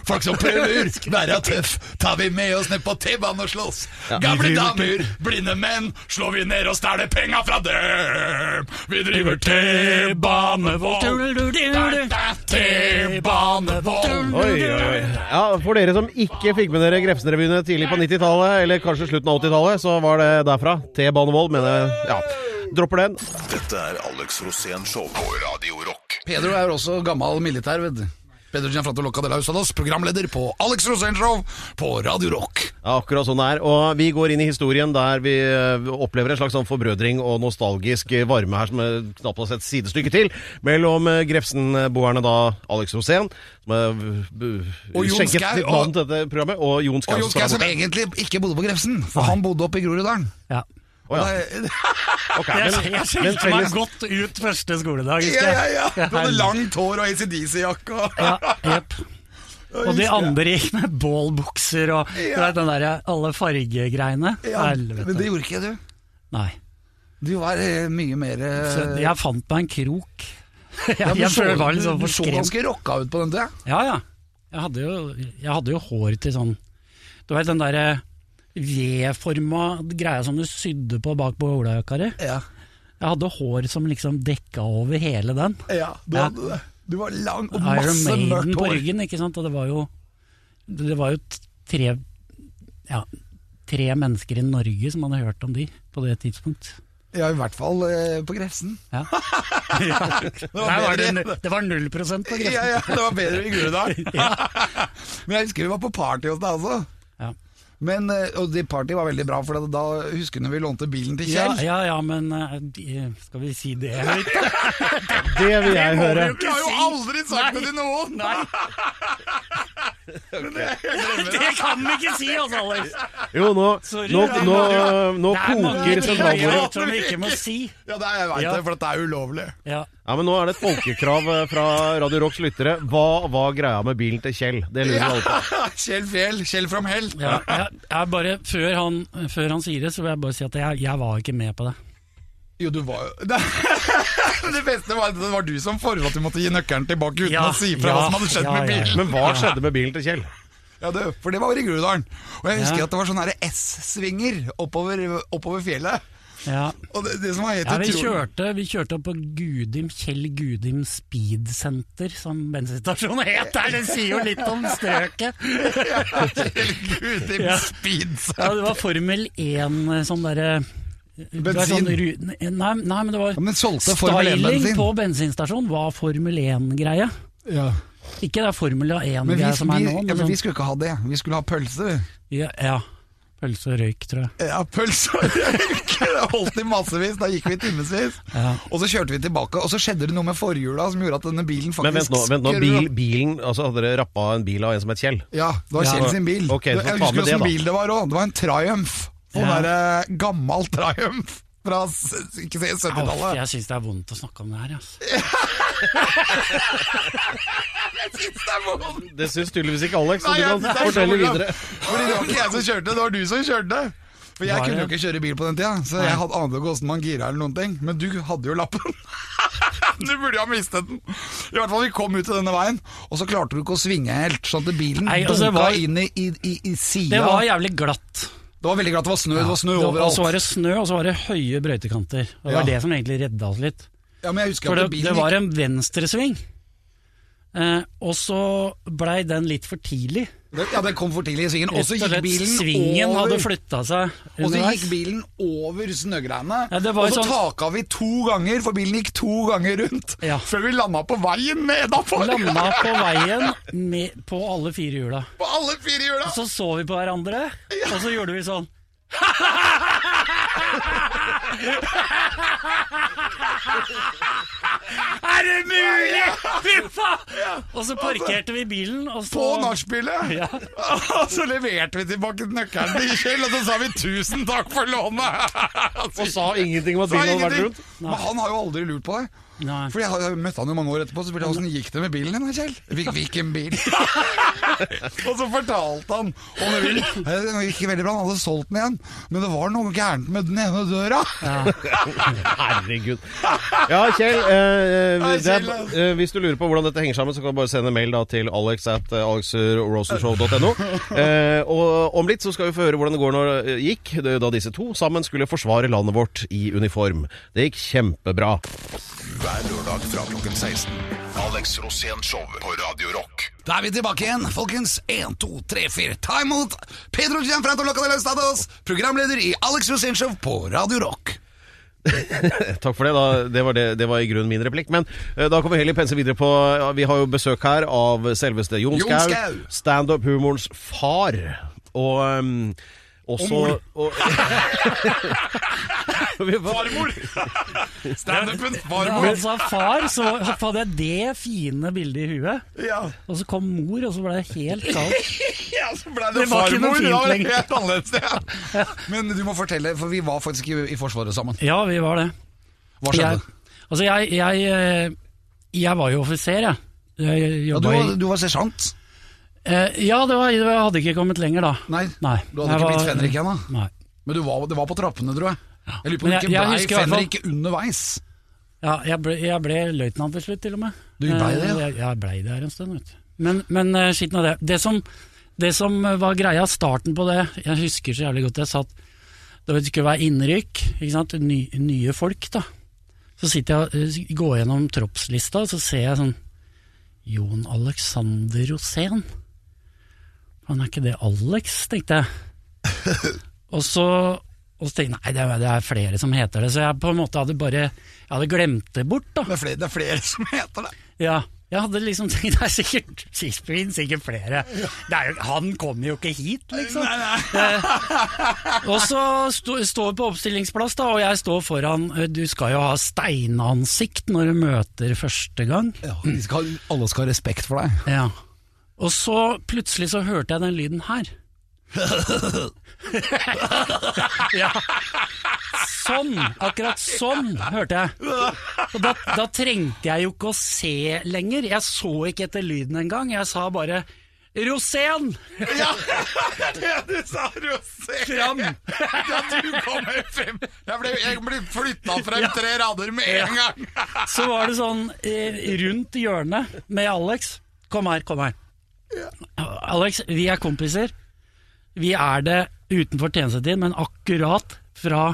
Speaker 1: Folk som prøver, være tøff, tar vi med oss ned på T-banen og slåss. Gamle damer, blinde menn, slår vi ned og stjeler penga fra dem. Vi driver T-banevold. T-banevold.
Speaker 2: Oi, oi, oi. Ja, For dere som ikke fikk med dere Grefsen-revyene tidlig på 90-tallet, eller kanskje slutten av 80-tallet, så var det derfra. T-banevold, men eh, ja. Dropper den.
Speaker 3: Dette er Alex Rosén Show på Radio Rock.
Speaker 1: Pedro er også gammel militær, vet du. Pedro Gianfranto Locca de la Husados, programleder på Alex Rosenshov på Radio Rock.
Speaker 2: Ja, akkurat sånn det er. Og vi går inn i historien der vi eh, opplever en slags sånn forbrødring og nostalgisk eh, varme her som eh, knapt har sett sidestykke til, mellom eh, Grefsen-boerne da Alex Rosén, som er
Speaker 1: Og Jon
Speaker 2: skjenket
Speaker 1: Skau,
Speaker 2: sitt
Speaker 1: og-
Speaker 2: navn til dette programmet, og Jon Skau.
Speaker 1: Og Jon
Speaker 2: som skal
Speaker 1: Skau som
Speaker 2: være borte.
Speaker 1: egentlig ikke bodde på Grefsen, for han bodde oppe i Groruddalen.
Speaker 4: Ja.
Speaker 2: Å, ja.
Speaker 1: Nei,
Speaker 2: Ok,
Speaker 4: Jeg,
Speaker 2: men-
Speaker 4: jeg
Speaker 2: men
Speaker 4: skilte meg
Speaker 2: felles-
Speaker 4: godt ut første skoledag.
Speaker 1: Ja,
Speaker 4: husker
Speaker 1: ja,
Speaker 4: jeg.
Speaker 1: ja. Du hadde
Speaker 4: herregud.
Speaker 1: langt hår og ACDC-jakke. Og...
Speaker 4: Ja, jepp. Og de andre gikk med bålbukser og du
Speaker 1: Ja.
Speaker 4: vet, den der, alle fargegreiene.
Speaker 1: Ja,
Speaker 4: Helvete.
Speaker 1: men det gjorde ikke du.
Speaker 4: Nei.
Speaker 1: Du var eh, mye mer eh,
Speaker 4: Så jeg fant meg en krok. Jeg,
Speaker 1: ja, du
Speaker 4: jeg
Speaker 1: så-
Speaker 4: føler meg litt
Speaker 1: du-
Speaker 4: sånn
Speaker 1: Du så
Speaker 4: forskremt.
Speaker 1: ganske rocka ut på den tida.
Speaker 4: Ja, ja. Jeg hadde, jo, jeg hadde jo hår til sånn Du vet den derre V-forma greia som du sydde på bak på olajakka di?
Speaker 1: Ja.
Speaker 4: Jeg hadde hår som liksom dekka over hele den.
Speaker 1: ja, du
Speaker 4: Ja.
Speaker 1: hadde det. Du var lang og
Speaker 4: Iron
Speaker 1: masse
Speaker 4: Maiden
Speaker 1: mørkt
Speaker 4: på
Speaker 1: hår.
Speaker 4: ryggen, ikke sant. Og det var jo Det var jo t- tre Ja, tre mennesker i Norge som hadde hørt om de på det tidspunkt.
Speaker 1: Ja, i hvert fall eh, på Grefsen.
Speaker 4: Ja.
Speaker 1: Det
Speaker 4: Der var det,
Speaker 1: bedre-
Speaker 4: nu- det var null prosent på
Speaker 1: ja,
Speaker 4: grensen.
Speaker 1: ja, det var bedre i Groruddalen. Men jeg husker vi var på party hos deg også.
Speaker 4: Ja.
Speaker 1: Men, eh, og det party var veldig bra, for da husker du når vi lånte bilen til
Speaker 4: Ja,
Speaker 1: Kjell.
Speaker 4: ja, ja, men eh, de- skal vi si det? eller ikke?
Speaker 2: Det vil jeg høre.
Speaker 4: vi jo
Speaker 1: Jeg har jo aldri sagt
Speaker 4: Nei.
Speaker 1: det til noen!
Speaker 4: Nei. Det kan vi ikke si, altså, Alex.
Speaker 2: Jo, nå,
Speaker 4: Sorry,
Speaker 2: nå,
Speaker 4: det er
Speaker 2: nå,
Speaker 4: mange-
Speaker 2: nå
Speaker 4: Det er mange
Speaker 2: koker
Speaker 4: ting
Speaker 2: sentralbordet.
Speaker 4: som vi ikke må si.
Speaker 1: Ja, det er, jeg vet
Speaker 4: Ja.
Speaker 1: det, for dette er ulovlig.
Speaker 4: Ja.
Speaker 2: Ja, men nå er det et folkekrav eh, fra Radio Rocks lyttere. Hva var greia med bilen til Kjell? Det lurer vi alle på.
Speaker 1: Kjell Fjell, Kjell from Hell.
Speaker 4: Ja, jeg, jeg bare, før han, før han sier det, så vil jeg bare si at jeg, jeg var ikke med på det.
Speaker 1: Jo, du var jo Det det beste var at det var du som foreslo at du måtte gi nøkkelen tilbake uten
Speaker 4: Ja,
Speaker 1: å si fra
Speaker 4: ja,
Speaker 1: hva som hadde skjedd
Speaker 4: ja,
Speaker 1: med
Speaker 4: ja.
Speaker 1: bilen.
Speaker 2: Men hva skjedde med bilen til Kjell?
Speaker 1: Ja, du, For det var i Groruddalen. Og jeg husker
Speaker 4: Ja.
Speaker 1: at det var sånne her S-svinger oppover, oppover fjellet.
Speaker 4: Ja.
Speaker 1: Og det, det som var helt
Speaker 4: Ja, vi,
Speaker 1: utrolig
Speaker 4: kjørte, vi kjørte opp på Gudim, Kjell Gudim Speed Center, som bensinstasjonen het der. Det sier jo litt om strøket.
Speaker 1: Gud, i
Speaker 4: Ja.
Speaker 1: speeds.
Speaker 4: Ja, det var Formel 1 sånn derre det var
Speaker 1: Bensin.
Speaker 4: Sånn, ru- nei, nei, men det var
Speaker 1: Ja, men solgte Formel
Speaker 4: Styling
Speaker 1: 1-bensin.
Speaker 4: på bensinstasjon var Formel 1-greie.
Speaker 1: Ja.
Speaker 4: Ikke det Formel
Speaker 1: Men, vi,
Speaker 4: 1-greia som er
Speaker 1: vi,
Speaker 4: nå.
Speaker 1: ja,
Speaker 4: Men
Speaker 1: men vi
Speaker 4: sånn,
Speaker 1: skulle ikke ha det. Vi skulle ha pølse. vi.
Speaker 4: ja, ja. Pølse og røyk, tror jeg.
Speaker 1: Ja, Eh, pølse og røyk. Det holdt i massevis. Da gikk vi i timevis.
Speaker 4: Ja.
Speaker 1: Og så kjørte vi tilbake, og så skjedde det noe med forhjula som gjorde at denne bilen faktisk
Speaker 2: Men vent nå, vent nå
Speaker 1: skrur
Speaker 2: bil,
Speaker 1: opp.
Speaker 2: bilen, altså Hadde dere rappa en bil av en som het Kjell?
Speaker 1: Ja, det var
Speaker 4: Ja.
Speaker 1: Kjell sin bil.
Speaker 2: Ok, så
Speaker 1: jeg
Speaker 2: ta
Speaker 1: husker
Speaker 2: med det,
Speaker 1: åssen
Speaker 2: da.
Speaker 1: bil det var òg. Det var en Triumph. Sånn
Speaker 4: Ja.
Speaker 1: derre gammel Triumph fra s- ikke se,
Speaker 4: Uff,
Speaker 1: 70-tallet.
Speaker 4: jeg syns det er vondt å snakke om det her. Altså.
Speaker 2: Det syns tydeligvis ikke Alex, så
Speaker 1: Nei,
Speaker 2: du
Speaker 1: jeg- det er
Speaker 2: kan
Speaker 1: så
Speaker 2: fortelle
Speaker 1: bra.
Speaker 2: videre.
Speaker 1: Fordi det var ikke jeg som kjørte, det var du som kjørte. For jeg
Speaker 4: Var
Speaker 1: kunne jo
Speaker 4: det?
Speaker 1: ikke kjøre bil på den tida, så jeg hadde ante ikke åssen man gira eller noen ting. Men du hadde jo lappen. Du burde jo ha mistet den. I hvert fall, vi kom ut til denne veien, og så klarte du ikke å svinge helt, sånn at bilen
Speaker 4: Nei, altså,
Speaker 1: dunka
Speaker 4: det var-
Speaker 1: inn i, i, i, i sida.
Speaker 4: Det var jævlig glatt.
Speaker 1: Det var veldig glatt, det var snø, det var snø
Speaker 4: Det var- Og
Speaker 1: overalt.
Speaker 4: så var det snø, og så var det høye brøytekanter. Og Det
Speaker 1: Ja.
Speaker 4: var det som egentlig redda oss litt.
Speaker 1: Ja, men jeg husker
Speaker 4: For
Speaker 1: at
Speaker 4: det,
Speaker 1: bilen
Speaker 4: det var en venstresving, eh, og så blei den litt for tidlig.
Speaker 1: gikk, ja, den kom for tidlig i svingen, og så
Speaker 4: Rett
Speaker 1: gikk
Speaker 4: og slett,
Speaker 1: bilen
Speaker 4: svingen
Speaker 1: over.
Speaker 4: hadde flytta seg
Speaker 1: Og så gikk
Speaker 4: underveis.
Speaker 1: bilen over snøgreiene,
Speaker 4: Ja, det var
Speaker 1: og så
Speaker 4: jo sånn-
Speaker 1: taka vi to ganger, for bilen gikk to ganger rundt,
Speaker 4: Ja.
Speaker 1: før vi landa på veien nedafor.
Speaker 4: Landa på veien med, på alle fire hjula.
Speaker 1: På alle fire hjula!
Speaker 4: Så så vi på hverandre, og så gjorde vi sånn. Er det mulig?! Fy faen! Og så parkerte vi bilen, og så
Speaker 1: På nachspielet!
Speaker 4: Ja.
Speaker 1: Og så leverte vi tilbake nøkkelen til Kjell, og så sa vi 'tusen takk for lånet'! Og
Speaker 2: Sa ingenting om at
Speaker 1: Sa
Speaker 2: bilen hadde vært
Speaker 1: ingenting.
Speaker 2: rundt.
Speaker 1: Men han har jo aldri lurt på det.
Speaker 4: Nei.
Speaker 1: For jeg har- jeg møtte han jo mange år etterpå, så spurte jeg åssen gikk det med bilen din, da, Kjell? Hvil- Hvilken bil? og så fortalte han om det bilen. Det gikk veldig bra, han hadde solgt den igjen. Men det var noe gærent med den ene døra.
Speaker 2: Herregud. Ja, Kjell. Eh,
Speaker 1: Hei,
Speaker 2: det er,
Speaker 1: Kjell, ass.
Speaker 2: eh, hvis du lurer på hvordan dette henger sammen, så kan du bare sende mail da, til alex at eh, alexrosenshow.no. Eh, og om litt så skal vi få høre hvordan det går når det gikk det, da disse to sammen skulle forsvare landet vårt i uniform. Det gikk kjempebra.
Speaker 3: Hver lørdag fra klokken 16. Alex Rosén Show på Radio Rock.
Speaker 1: Da er vi tilbake igjen, folkens. 1, 2, 3, 4, ta imot Pedro Gianfranto Loca de Løstados, programleder i Alex Rosénshow på Radio Rock.
Speaker 2: Takk for det. Da. Det, var det, det var i grunnen min replikk. Men eh, da kan vi heller pense videre på ja, Vi har jo besøk her av selveste Jon
Speaker 1: Jon Skau.
Speaker 2: Skau. Standup-humorens far. Og ehm, også
Speaker 1: mor.
Speaker 2: og- Vi får-
Speaker 1: Farmor! Standupen
Speaker 4: Da han sa altså, far, så hadde jeg det fine bildet i huet.
Speaker 1: Ja.
Speaker 4: Og så kom mor, og så ble det helt kaldt.
Speaker 1: Ja, så ble det,
Speaker 4: Det var ikke noe
Speaker 1: farmor.
Speaker 4: fint
Speaker 1: Det var
Speaker 4: lenger.
Speaker 1: helt annerledes, ja. Men du må fortelle, for vi var faktisk i, i Forsvaret sammen.
Speaker 4: Ja, vi var det.
Speaker 1: Hva skjedde?
Speaker 4: Jeg, altså, jeg, jeg, eh, jeg var jo offiser, jeg. jeg
Speaker 1: Ja, du,
Speaker 4: jobba
Speaker 1: var,
Speaker 4: i-
Speaker 1: du var sersjant.
Speaker 4: Eh, ja, det var, jeg hadde ikke kommet lenger da.
Speaker 1: Nei,
Speaker 4: Nei.
Speaker 1: du hadde
Speaker 4: Jeg
Speaker 1: ikke
Speaker 4: var-
Speaker 1: blitt fenrik ennå.
Speaker 4: Nei.
Speaker 1: Men du var, det var på trappene, tror jeg. Jeg lurer på om du
Speaker 4: Men jeg-
Speaker 1: ikke
Speaker 4: jeg
Speaker 1: blei
Speaker 4: husker i hvert fall-
Speaker 1: fenrik underveis.
Speaker 4: Ja, jeg ble, jeg ble løytnant til slutt, til og med.
Speaker 1: Du ble det, ja.
Speaker 4: Eh, Jeg, jeg ble det her en stund, vet du. Men, men eh, skitten av det. Det som, det som eh, var greia, starten på det, jeg husker så jævlig godt jeg satt Da det skulle være innrykk, ikke sant? Ny, nye folk, da. Så sitter jeg og eh, går gjennom troppslista, og så ser jeg sånn Jon Alexander Rosén. Han er ikke det Alex, tenkte jeg. Og så, og så tenkte jeg nei, det er, det er flere som heter det. Så jeg på en måte hadde bare Jeg hadde glemt det bort, da.
Speaker 1: Det er flere, det er flere som heter det.
Speaker 4: Ja, jeg hadde liksom tenkt det er sikkert Sisprin, sikkert flere. Det er jo, han kommer jo ikke hit, liksom. Eh, og så sto- står på oppstillingsplass, da, og jeg står foran eh, Du skal jo ha steinansikt når du møter første gang.
Speaker 1: Ja, de skal, alle skal ha respekt for deg.
Speaker 4: Ja. Og så plutselig så hørte jeg den lyden her. ja. Sånn, akkurat sånn hørte jeg. Og da, da trengte jeg jo ikke å se lenger. Jeg så ikke etter lyden engang. Jeg sa bare 'Rosén,
Speaker 1: Ja, det du sa, Rosé!
Speaker 4: fram!'
Speaker 1: Ja, du kommer frem. Jeg ble, jeg ble flytta frem tre rader med en gang.
Speaker 4: Så var det sånn eh, rundt hjørnet med Alex. Kom her, kom her. Alex, vi er kompiser. Vi er det utenfor tjenestetid, men akkurat fra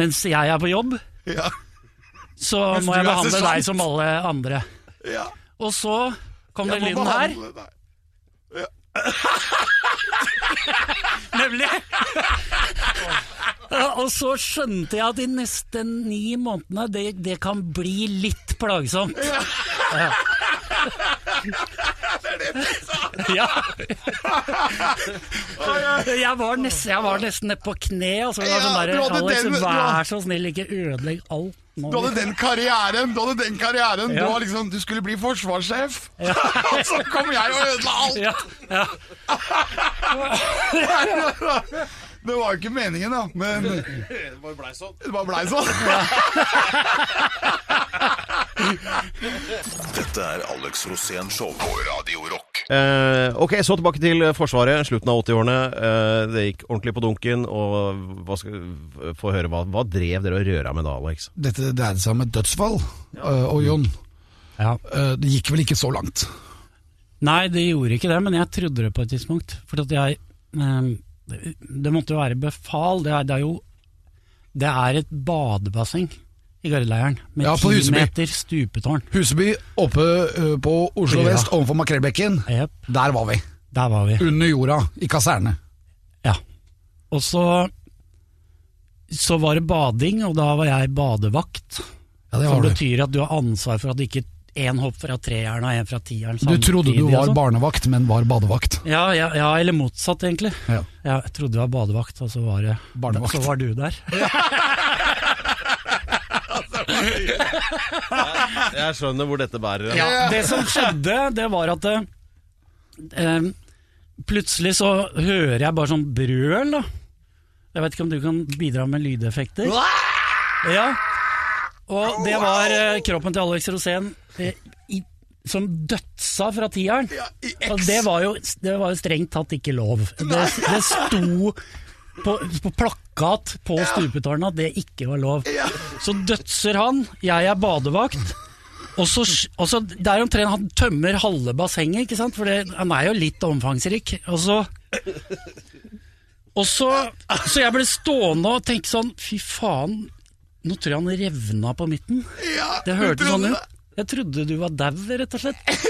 Speaker 4: mens jeg er på jobb,
Speaker 1: Ja,
Speaker 4: så
Speaker 1: Mens
Speaker 4: må
Speaker 1: du
Speaker 4: jeg
Speaker 1: er
Speaker 4: behandle
Speaker 1: sersjant.
Speaker 4: deg som alle andre.
Speaker 1: ja.
Speaker 4: Og så kom den
Speaker 1: Jeg må
Speaker 4: lyden her,
Speaker 1: behandle deg.
Speaker 4: nemlig. Og så skjønte jeg at de neste ni månedene, det, det kan bli litt plagsomt. Ja. Jeg var, nest, jeg var nesten nede på kne. Altså, jeg var
Speaker 1: Ja,
Speaker 4: sånn der,
Speaker 1: du hadde
Speaker 4: Alex,
Speaker 1: den- du hadde-
Speaker 4: vær så snill, ikke ødelegg alt nå.
Speaker 1: Du hadde den karrieren, du hadde den karrieren Du,
Speaker 4: Ja.
Speaker 1: var liksom, du skulle bli forsvarssjef Og så kom jeg og ødela alt
Speaker 4: Ja, ja.
Speaker 1: Det var jo ikke meningen da Men det
Speaker 2: Det blei sånn.
Speaker 1: bare ble sånn
Speaker 3: Dette er Alex Rosén Show på Radio Rock.
Speaker 2: Eh, ok, så tilbake til Forsvaret. Slutten av 80-årene. Eh, det gikk ordentlig på dunken. Og hva skal få høre hva, hva drev dere og røra med da, Alex?
Speaker 1: Dette dreide seg om et dødsfall eh, Og Jon
Speaker 4: Ja.
Speaker 1: Eh, Det gikk vel ikke så langt.
Speaker 4: Nei, det gjorde ikke det, men jeg trodde det på et tidspunkt. For at jeg ehm, det, det måtte jo være befal. Det er, det er jo Det er et badebasseng i Gardeleiren med
Speaker 1: Ja, på
Speaker 4: ti
Speaker 1: Huseby.
Speaker 4: meter stupetårn.
Speaker 1: Huseby oppe eh, på Oslo
Speaker 4: Ja.
Speaker 1: vest overfor Makrellbekken.
Speaker 4: Jep,
Speaker 1: Der var vi.
Speaker 4: der var vi.
Speaker 1: Under jorda, i kaserne.
Speaker 4: Ja. Og så så var det bading, og da var jeg badevakt.
Speaker 1: Ja, det
Speaker 4: Som
Speaker 1: var du.
Speaker 4: betyr at du har ansvar for at ikke én hopp fra treeren og én fra tieren
Speaker 1: Du trodde du
Speaker 4: samtidig,
Speaker 1: var
Speaker 4: altså.
Speaker 1: barnevakt, men var badevakt.
Speaker 4: Ja, ja, ja, eller motsatt, egentlig.
Speaker 1: Ja.
Speaker 4: Ja, jeg trodde jeg var badevakt, og så var, det,
Speaker 1: Barnevakt.
Speaker 4: så var du der.
Speaker 2: Jeg skjønner hvor dette bærer.
Speaker 4: Ja, det som skjedde, det var at eh, Plutselig så hører jeg bare sånn brøl, da. Jeg vet ikke om du kan bidra med lydeffekter? Ja. Og det var eh, kroppen til Alex Rosén eh, i, som dødsa fra tieren. Og det var jo, det var jo strengt tatt ikke lov. Det, det sto på, på plakat på stupetårnet at det ikke var lov. Så dødser han, jeg er badevakt. Og så, og så Det er jo omtrent han tømmer halve bassenget, ikke sant? For det, han er jo litt omfangsrik. Og så Og så Så jeg ble stående og tenke sånn Fy faen, nå tror jeg han revna på midten. det hørtes sånn ut. Jeg trodde du var dau, rett og slett.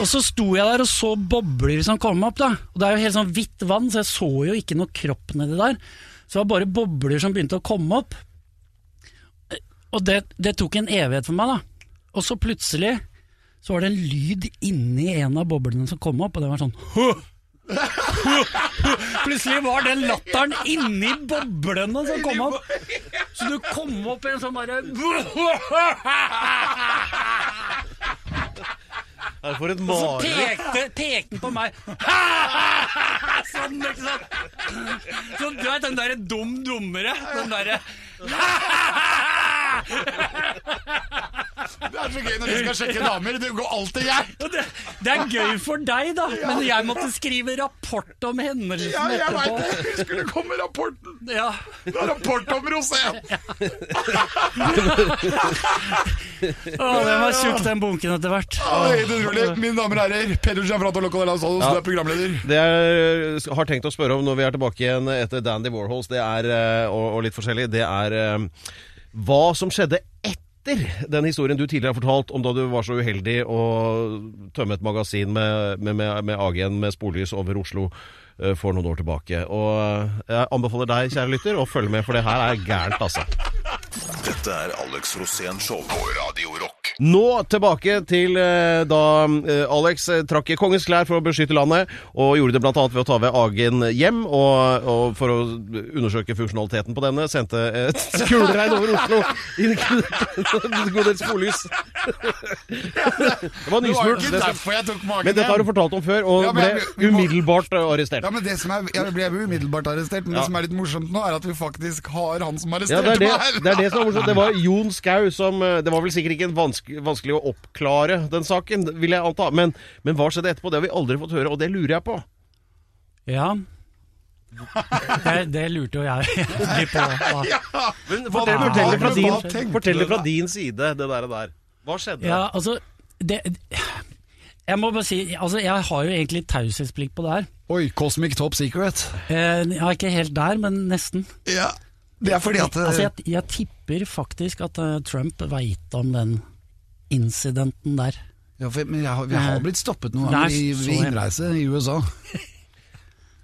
Speaker 4: Og så sto jeg der og så bobler som kom opp, da. Og det er jo helt sånn hvitt vann, så jeg så jo ikke noe kropp nedi der. Så det var bare bobler som begynte å komme opp. Og det, det tok en evighet for meg, da. Og så plutselig så var det en lyd inni en av boblene som kom opp, og det var sånn «Hø! Hø! Hø!» Plutselig var den latteren inni boblene som kom opp. Så du kom opp i en sånn derre
Speaker 2: Her får et
Speaker 4: Så
Speaker 2: mare.
Speaker 4: pekte, pekte den på meg. Sånn, ikke sant? Så du vet den derre dum dummere. Den derre
Speaker 1: Det er så gøy når du skal sjekke damer. Du går alltid jeg.
Speaker 4: Og det, det er gøy for deg, da, men jeg måtte skrive rapport om
Speaker 1: Ja,
Speaker 4: hendelsen
Speaker 1: jeg veit
Speaker 4: etterpå.
Speaker 1: det. Skulle komme rapporten.
Speaker 4: Ja.
Speaker 1: Det er rapport om Rosén.
Speaker 4: Å, den var tjukk, den bunken etter hvert.
Speaker 1: Helt utrolig. Mine damer og herrer, Peder Gianfranto Locola Santos,
Speaker 2: Ja.
Speaker 1: du er programleder.
Speaker 2: Det jeg har tenkt å spørre om når vi er tilbake igjen etter Dandy Warhols det er, eh, og, og litt forskjellig, det er eh, hva som skjedde etter den historien du tidligere har fortalt om da du var så uheldig å tømme et magasin med, med, med, med AG-en med sporlys over Oslo eh, for noen år tilbake. Og eh, jeg anbefaler deg, kjære lytter, å følge med, for det her er gærent, altså.
Speaker 3: Dette er Alex Rosén Show på Radio Rock.
Speaker 2: Nå tilbake til eh, da eh, Alex eh, trakk i kongens klær for å beskytte landet, og gjorde det bl.a. ved å ta ved Agen hjem, og, og for å undersøke funksjonaliteten på denne, sendte et kuleregn over Oslo, inkludert en god del sporlys. Det var
Speaker 1: Det var jo ikke
Speaker 2: nysmurt. det som-
Speaker 1: derfor jeg tok magen
Speaker 2: Men dette har du
Speaker 1: igjen.
Speaker 2: fortalt om før, og
Speaker 1: Ja, men jeg- vi
Speaker 2: ble
Speaker 1: må-
Speaker 2: umiddelbart eh, arrestert.
Speaker 1: Ja, men det som er, Jeg ble jo umiddelbart arrestert, men
Speaker 2: Ja.
Speaker 1: det som er litt morsomt nå, er at vi faktisk har han som
Speaker 2: Ja,
Speaker 1: arresterte
Speaker 2: det er det,
Speaker 1: meg.
Speaker 2: det er det som er morsomt. Det var Jon Skau som eh, Det var vel sikkert ikke en vanske, vanskelig å oppklare den saken, vil jeg anta. Men, men hva skjedde etterpå? Det har vi aldri fått høre, og det lurer jeg på.
Speaker 4: Ja. Det, det lurte jo jeg egentlig på. da.
Speaker 2: Men
Speaker 1: fortell- fortell det fra din- fortell det fra
Speaker 2: side, det der. Hva skjedde?
Speaker 4: Ja, altså det, Jeg må bare si altså, Jeg har jo egentlig taushetsplikt på det her.
Speaker 1: Oi, Cosmic Top Secret.
Speaker 4: Eh, Jeg er ikke helt der, men nesten.
Speaker 1: Ja, Det er fordi at eh,
Speaker 4: Altså, jeg, jeg tipper faktisk at eh, Trump veit om den incidenten der.
Speaker 1: ja, for, men jeg, har- Vi har blitt stoppet noen
Speaker 4: Nei,
Speaker 1: ganger i-
Speaker 4: så
Speaker 1: ved
Speaker 4: jeg-
Speaker 1: innreise i USA.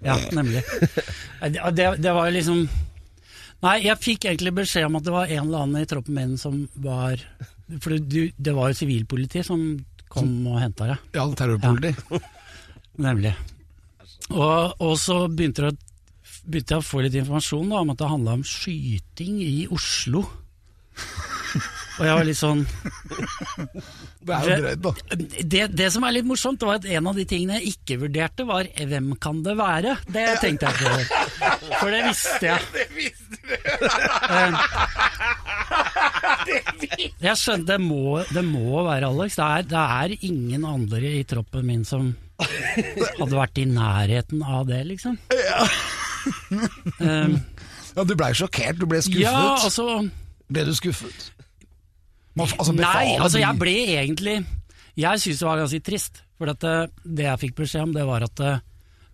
Speaker 4: Ja, nemlig. Eh, Det, det, det var jo liksom Nei, jeg fikk egentlig beskjed om at det var en eller annen i troppen min som var For du, det var jo sivilpoliti som kom og henta deg.
Speaker 1: Ja, terrorpoliti.
Speaker 4: Nemlig. Og, og så begynte, det, å- begynte jeg å få litt informasjon da, om at det handla om skyting i Oslo. Og jeg var litt sånn
Speaker 1: Det er jo drøyt, da.
Speaker 4: det, det som er litt morsomt, det var at en av de tingene jeg ikke vurderte, var hvem kan det være? Det tenkte jeg på. For det visste jeg. Det visste du! Jeg skjønte, det må, det må være Alex. Det er, det er ingen andre i troppen min som hadde vært i nærheten av det, liksom. Um,
Speaker 1: Ja, Du blei sjokkert, du ble skuffet.
Speaker 4: ja, altså
Speaker 1: Ble du skuffet? Man, altså,
Speaker 4: Nei,
Speaker 1: befalet
Speaker 4: altså
Speaker 1: blir-
Speaker 4: jeg ble egentlig Jeg syns det var ganske trist, for at eh, det jeg fikk beskjed om, det var at eh,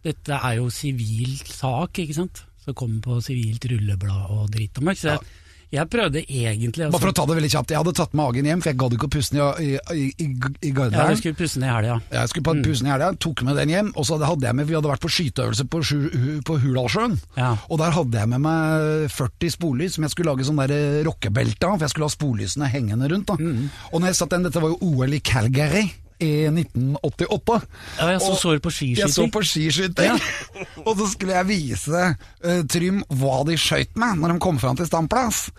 Speaker 4: dette er jo sivil sak, ikke sant. Så kom på sivilt rulleblad og dritt og møkk. Så jeg, jeg prøvde egentlig
Speaker 1: Bare for å ta det veldig kjapt, jeg hadde tatt magen hjem, for jeg gadd ikke å puste ned i, i, i, i
Speaker 4: Ja, du
Speaker 1: garderen.
Speaker 4: skulle Mm. pusse ned i helga.
Speaker 1: Jeg skulle på en pusen i helga, tok med den hjem, og så hadde jeg med, vi hadde vært på skyteøvelse på, Sju- hu- på Hurdalssjøen.
Speaker 4: Ja.
Speaker 1: Og der hadde jeg med meg 40 sporlys som jeg skulle lage sånn der eh, rockebelte av, for jeg skulle ha sporlysene hengende rundt. da.
Speaker 4: Mm.
Speaker 1: Og når jeg satt den, dette var jo OL i Calgary i 1988.
Speaker 4: Ja, jeg så
Speaker 1: Og-
Speaker 4: sår på
Speaker 1: jeg så
Speaker 4: skiskyting.
Speaker 1: på skiskyting, og så skulle jeg vise eh, Trym hva de skøyt med når de kom fram til standplass.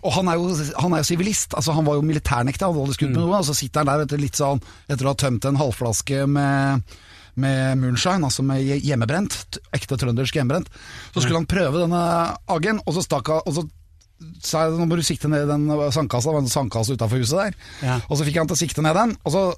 Speaker 1: Og han er jo han er jo sivilist, altså han var jo militærnekta, hadde aldri skutt med noe, og så sitter han der vet du, litt sånn etter å ha tømt en halvflaske med med moonshine, altså med hje- hjemmebrent, t- ekte trøndersk hjemmebrent. Så skulle han prøve denne aggen, og så stakk han, og så sa jeg nå må du sikte ned i den sandkassa, det var en sandkasse utenfor huset der.
Speaker 4: Ja.
Speaker 1: Og så fikk han til å sikte ned den, og så,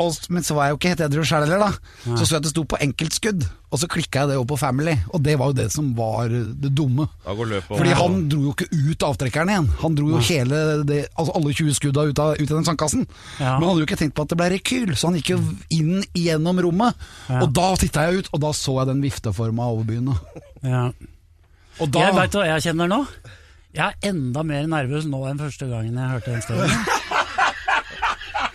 Speaker 1: og, men så var jeg jo ikke helt edru sjøl heller, da. Så så jeg at det sto på enkeltskudd, og så klikka jeg det over på Family, og det var jo det som var det dumme.
Speaker 2: Da går løpet over.
Speaker 1: Fordi han dro jo ikke ut avtrekkeren igjen, han dro jo hele det, altså alle 20 skudda ut, av, ut i den sandkassen.
Speaker 4: Ja.
Speaker 1: Men han hadde jo ikke tenkt på at det ble rekyl, så han gikk jo inn gjennom rommet, og da titta jeg ut, og da så jeg den vifteforma over byen. da.
Speaker 4: Ja.
Speaker 1: Og
Speaker 4: Jeg
Speaker 1: da
Speaker 4: veit hva jeg kjenner nå. Jeg er enda mer nervøs nå enn første gangen jeg hørte den storyen.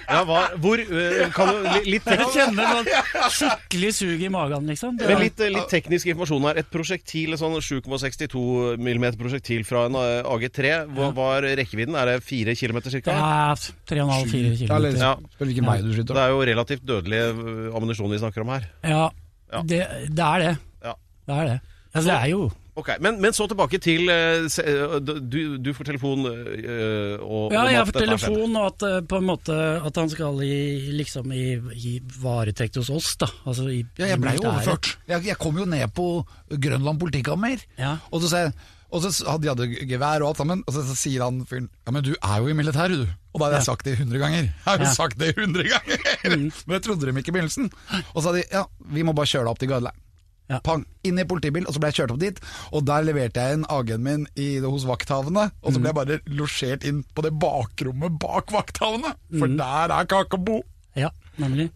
Speaker 2: Ja, hva, hvor eh, kan du, li- Litt
Speaker 4: Jeg kjenner noe skikkelig sug i magen, liksom. Det
Speaker 2: Men
Speaker 4: var-
Speaker 2: litt, eh, litt teknisk informasjon her. Et prosjektil, et sånn 7,62 mm prosjektil fra en eh, AG3, hva var rekkevidden? Er det 4 km
Speaker 4: det
Speaker 2: ca.?
Speaker 4: er 3,5-4
Speaker 1: Ja, eller-
Speaker 4: kilometer.
Speaker 2: Ja.
Speaker 1: Spør hvilken vei du
Speaker 2: Det
Speaker 1: skyter.
Speaker 2: er jo relativt dødelig eh, ammunisjon vi snakker om her.
Speaker 4: Ja,
Speaker 2: Ja.
Speaker 4: det, det er det.
Speaker 2: Ja.
Speaker 4: Det er det. Altså, det er jo
Speaker 2: Ok, Men, men så tilbake til eh, se- eh, Du, du får telefon eh, og
Speaker 4: Ja,
Speaker 2: om
Speaker 4: jeg
Speaker 2: at
Speaker 4: får
Speaker 2: dette har skjedd.
Speaker 4: telefon, og at, eh, på en måte, at han skal i, liksom i, i varetekt hos oss, da. Altså, i,
Speaker 1: Ja, jeg
Speaker 4: i
Speaker 1: blei jo
Speaker 4: militæret.
Speaker 1: overført. Jeg, jeg kom jo ned på Grønland politikammer,
Speaker 4: Ja.
Speaker 1: og så sa jeg og så s- hadde de hadde gevær og alt sammen, og så, så sier han fyren Ja, men du er jo i militæret, du. Og da hadde jeg sagt det 100 ganger. Jeg har jo
Speaker 4: Ja. Mm.
Speaker 1: sagt det 100 ganger! Men det trodde de ikke i begynnelsen. Og så sa de ja, vi må bare kjøre deg opp til Gardeleiren.
Speaker 4: Ja.
Speaker 1: Pang, inn i politibil, og så ble jeg kjørt opp dit. Og der leverte jeg inn AG-en min i, hos vakthavene, og
Speaker 4: Mm.
Speaker 1: så ble jeg bare losjert inn på det bakrommet bak vakthavene! For
Speaker 4: Mm.
Speaker 1: der er Kakebo!
Speaker 4: Ja, nemlig.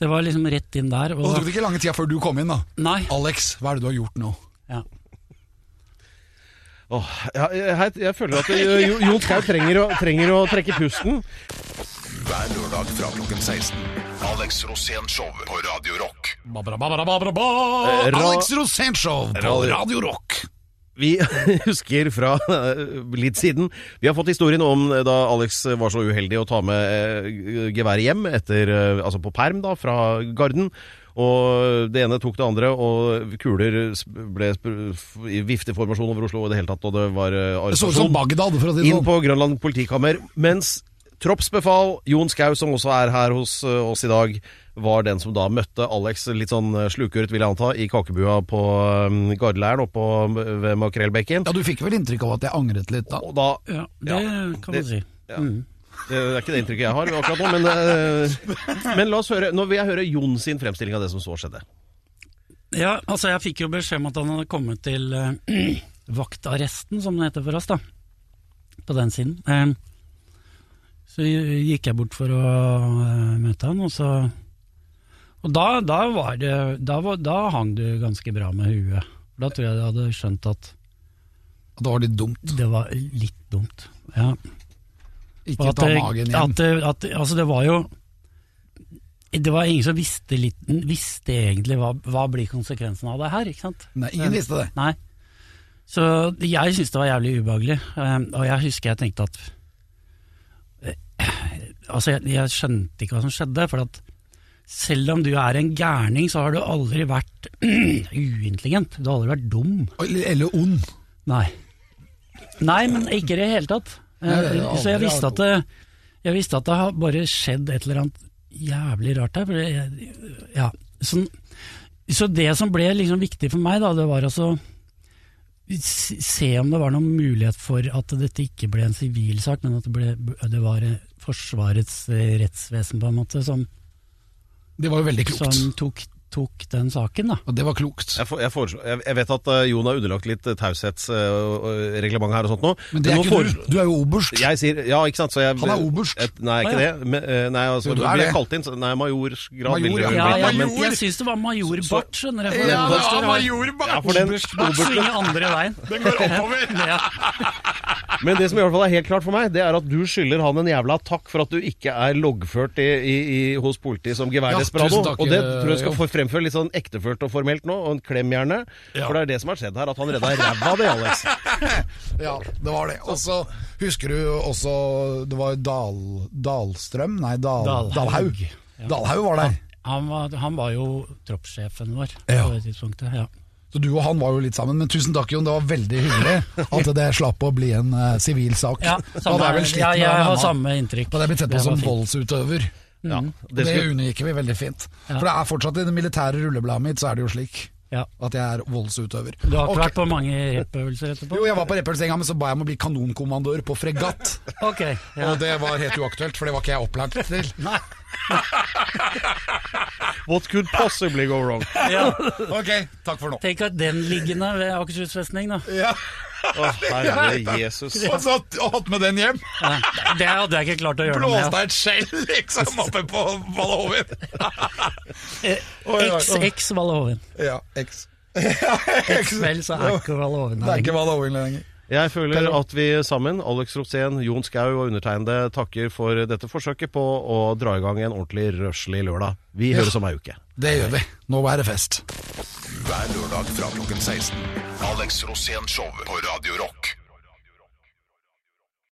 Speaker 4: Det var liksom rett inn der.
Speaker 1: Og så tok
Speaker 4: Og,
Speaker 1: det ikke lange tida før du kom inn, da.
Speaker 4: nei.
Speaker 1: Alex, hva er det du har gjort nå?
Speaker 4: Ja.
Speaker 2: Åh, ja, jeg, jeg, jeg føler at eh, Jo- Jon Skau trenger, å- trenger å trekke pusten.
Speaker 3: Hver lørdag fra klokken 16. Alex Rosén Show på Radio Rock.
Speaker 2: Eh, ra-
Speaker 1: Alex Rosenshov på Radio Rock.
Speaker 2: Vi husker fra eh, litt siden Vi har fått historien om eh, da Alex var så uheldig å ta med eh, geværet hjem etter, eh, altså på perm da, fra garden. Og det ene tok det andre, og kuler sp- ble sp- f- i vifteformasjon over Oslo. Og det hele tatt, og det var eh,
Speaker 1: Det så ut som
Speaker 2: arrestasjon
Speaker 1: Bagdad, for å si det
Speaker 2: inn
Speaker 1: sånn.
Speaker 2: på Grønland politikammer. Mens troppsbefal Jon Skau, som også er her hos eh, oss i dag, var den som da møtte Alex litt sånn eh, slukøret, vil jeg anta, i kakebua på eh, Gardeleiren oppe på- ved Makrellbekken.
Speaker 1: Ja, Du fikk vel inntrykk av at jeg angret litt da?
Speaker 2: Og da
Speaker 4: ja, det
Speaker 2: Ja,
Speaker 4: kan
Speaker 2: det-
Speaker 4: man si.
Speaker 2: ja. Det er ikke det inntrykket jeg har akkurat nå, men, eh, men la oss høre Nå vil jeg høre Jon sin fremstilling av det som så skjedde.
Speaker 4: Ja, altså jeg fikk jo beskjed om at han hadde kommet til eh, vaktarresten, som det heter for oss, da. På den siden. Eh, så gikk jeg bort for å eh, møte han, og så Og da, da var det da, var, da hang du ganske bra med huet. Da tror jeg jeg hadde skjønt at
Speaker 1: At det var litt dumt.
Speaker 4: det var litt dumt. Ja.
Speaker 1: Ikke
Speaker 4: Og
Speaker 1: ta magen hjem.
Speaker 4: At, det- at, altså det var jo Det var ingen som visste, litt, visste egentlig hva, hva blir konsekvensen av det her, ikke sant?
Speaker 1: Nei, ingen visste det.
Speaker 4: Nei. Så jeg syntes det var jævlig ubehagelig, eh, og jeg husker jeg tenkte at eh, Altså, jeg, jeg skjønte ikke hva som skjedde, for at selv om du er en gærning, så har du aldri vært uintelligent. Du har aldri vært dum.
Speaker 1: Eller- Eller ond.
Speaker 4: Nei. Nei, men ikke i det hele tatt. Eh,
Speaker 1: Nei, det er aldri
Speaker 4: så jeg visste at det, jeg visste at det har bare skjedd et eller annet jævlig rart her. For jeg, ja. så, så det som ble liksom viktig for meg, da, det var altså s- Se om det var noen mulighet for at dette ikke ble en sivilsak, men at det, ble, det var eh, Forsvarets eh, rettsvesen, på en måte, som, Sånn.
Speaker 1: Det var jo veldig klokt.
Speaker 4: som tok tok den saken, da.
Speaker 1: Og det var klokt.
Speaker 2: Jeg, for, jeg, foreslår, jeg, jeg vet at eh, Jon har underlagt litt taushetsreglement her og sånt nå.
Speaker 1: Men det er
Speaker 2: nå
Speaker 1: ikke
Speaker 2: foreslår-
Speaker 1: du. Du er jo oberst.
Speaker 2: Jeg sier ja, ikke sant. Så jeg,
Speaker 1: Han er oberst.
Speaker 2: Et, nei, ikke
Speaker 4: Å, ja.
Speaker 2: det. Men, eh, nei, altså,
Speaker 1: Jo, du
Speaker 2: du
Speaker 1: er
Speaker 2: blir
Speaker 1: det.
Speaker 2: kalt inn. så- Nei, majorsgrad
Speaker 1: Major,
Speaker 2: ville det
Speaker 1: ja.
Speaker 2: vel
Speaker 4: Ja,
Speaker 2: blitt, da,
Speaker 4: jeg,
Speaker 2: men-
Speaker 4: jeg, syns det var major
Speaker 2: Så-
Speaker 4: Bart, skjønner du. for
Speaker 5: Ja,
Speaker 4: den
Speaker 5: det
Speaker 4: første
Speaker 5: er
Speaker 4: var-
Speaker 5: majorbart!
Speaker 2: Ja, for den
Speaker 4: Bart
Speaker 2: obersten.
Speaker 4: svinger andre veien.
Speaker 5: Den går oppover!
Speaker 4: Ja.
Speaker 2: Men det som i hvert fall er helt klart for meg, det er at du skylder han en jævla takk for at du ikke er loggført i, i, i, hos politiet som
Speaker 1: Ja,
Speaker 2: geværdesperado.
Speaker 1: tusen takk,
Speaker 2: og det
Speaker 1: eh,
Speaker 2: tror jeg skal
Speaker 1: Jon.
Speaker 2: få fremføre litt sånn ektefølt og formelt nå, og en klem gjerne. For det er det som har skjedd her, at han redda ræva av det, Alex.
Speaker 1: Ja, det var det. Og så husker du også Det var Dal, Dalstrøm? Nei, Dal,
Speaker 4: Dalhaug.
Speaker 1: Dalhaug.
Speaker 4: Ja.
Speaker 1: Dalhaug var der.
Speaker 4: Han, var, han var jo troppssjefen vår
Speaker 1: Ja.
Speaker 4: på det tidspunktet. Ja.
Speaker 1: Så du og han var jo litt sammen. Men tusen takk, Jon. Det var veldig hyggelig at det slapp å bli en eh, sivil sak.
Speaker 4: Ja,
Speaker 1: Og det
Speaker 4: samme,
Speaker 1: er vel slitt
Speaker 4: ja,
Speaker 1: med
Speaker 4: jeg
Speaker 1: han
Speaker 4: har
Speaker 1: ennå.
Speaker 4: samme inntrykk.
Speaker 1: Og det er blitt sett
Speaker 4: Det
Speaker 1: på som
Speaker 4: var fint.
Speaker 1: voldsutøver.
Speaker 2: Ja,
Speaker 1: Mm. Det,
Speaker 2: det skulle,
Speaker 1: unngikk vi veldig fint.
Speaker 4: Ja.
Speaker 1: For det er fortsatt i det militære rullebladet mitt, så er det jo slik
Speaker 4: Ja.
Speaker 1: at jeg er voldsutøver.
Speaker 4: Du har ikke
Speaker 1: Ok.
Speaker 4: vært på mange rep-øvelser etterpå?
Speaker 1: Jo, jeg var på Reppelsenga, men så ba jeg om å bli kanonkommandør på fregatt.
Speaker 4: Ok, ja.
Speaker 1: Og det var helt uaktuelt, for det var ikke jeg opplært til.
Speaker 4: Nei.
Speaker 2: what could possibly go wrong?
Speaker 4: Ja.
Speaker 1: Ok, takk for nå.
Speaker 4: Tenk at den liggende ved Akershus festning, da.
Speaker 2: Å, herre Jesus.
Speaker 5: Og så hatt med den hjem!
Speaker 4: Ja. Det hadde jeg ikke klart å gjøre noe
Speaker 5: Blåste
Speaker 4: med.
Speaker 5: deg et skjell liksom oppe på Valhoven!
Speaker 4: Eh, XX Valhoven.
Speaker 5: Ja, X.
Speaker 4: Vel, så er ikke Valhoven
Speaker 5: Det er
Speaker 4: her.
Speaker 5: ikke Valhoven lenger.
Speaker 2: Jeg føler at vi sammen, Alex Rosén, Jon Skau og undertegnede, takker for dette forsøket på å dra i gang en ordentlig røslig lørdag. Vi høres om ei uke.
Speaker 1: Det gjør vi. Nå er det fest.
Speaker 3: Hver lørdag fra klokken 16. Alex Rosén Show på Radio Rock.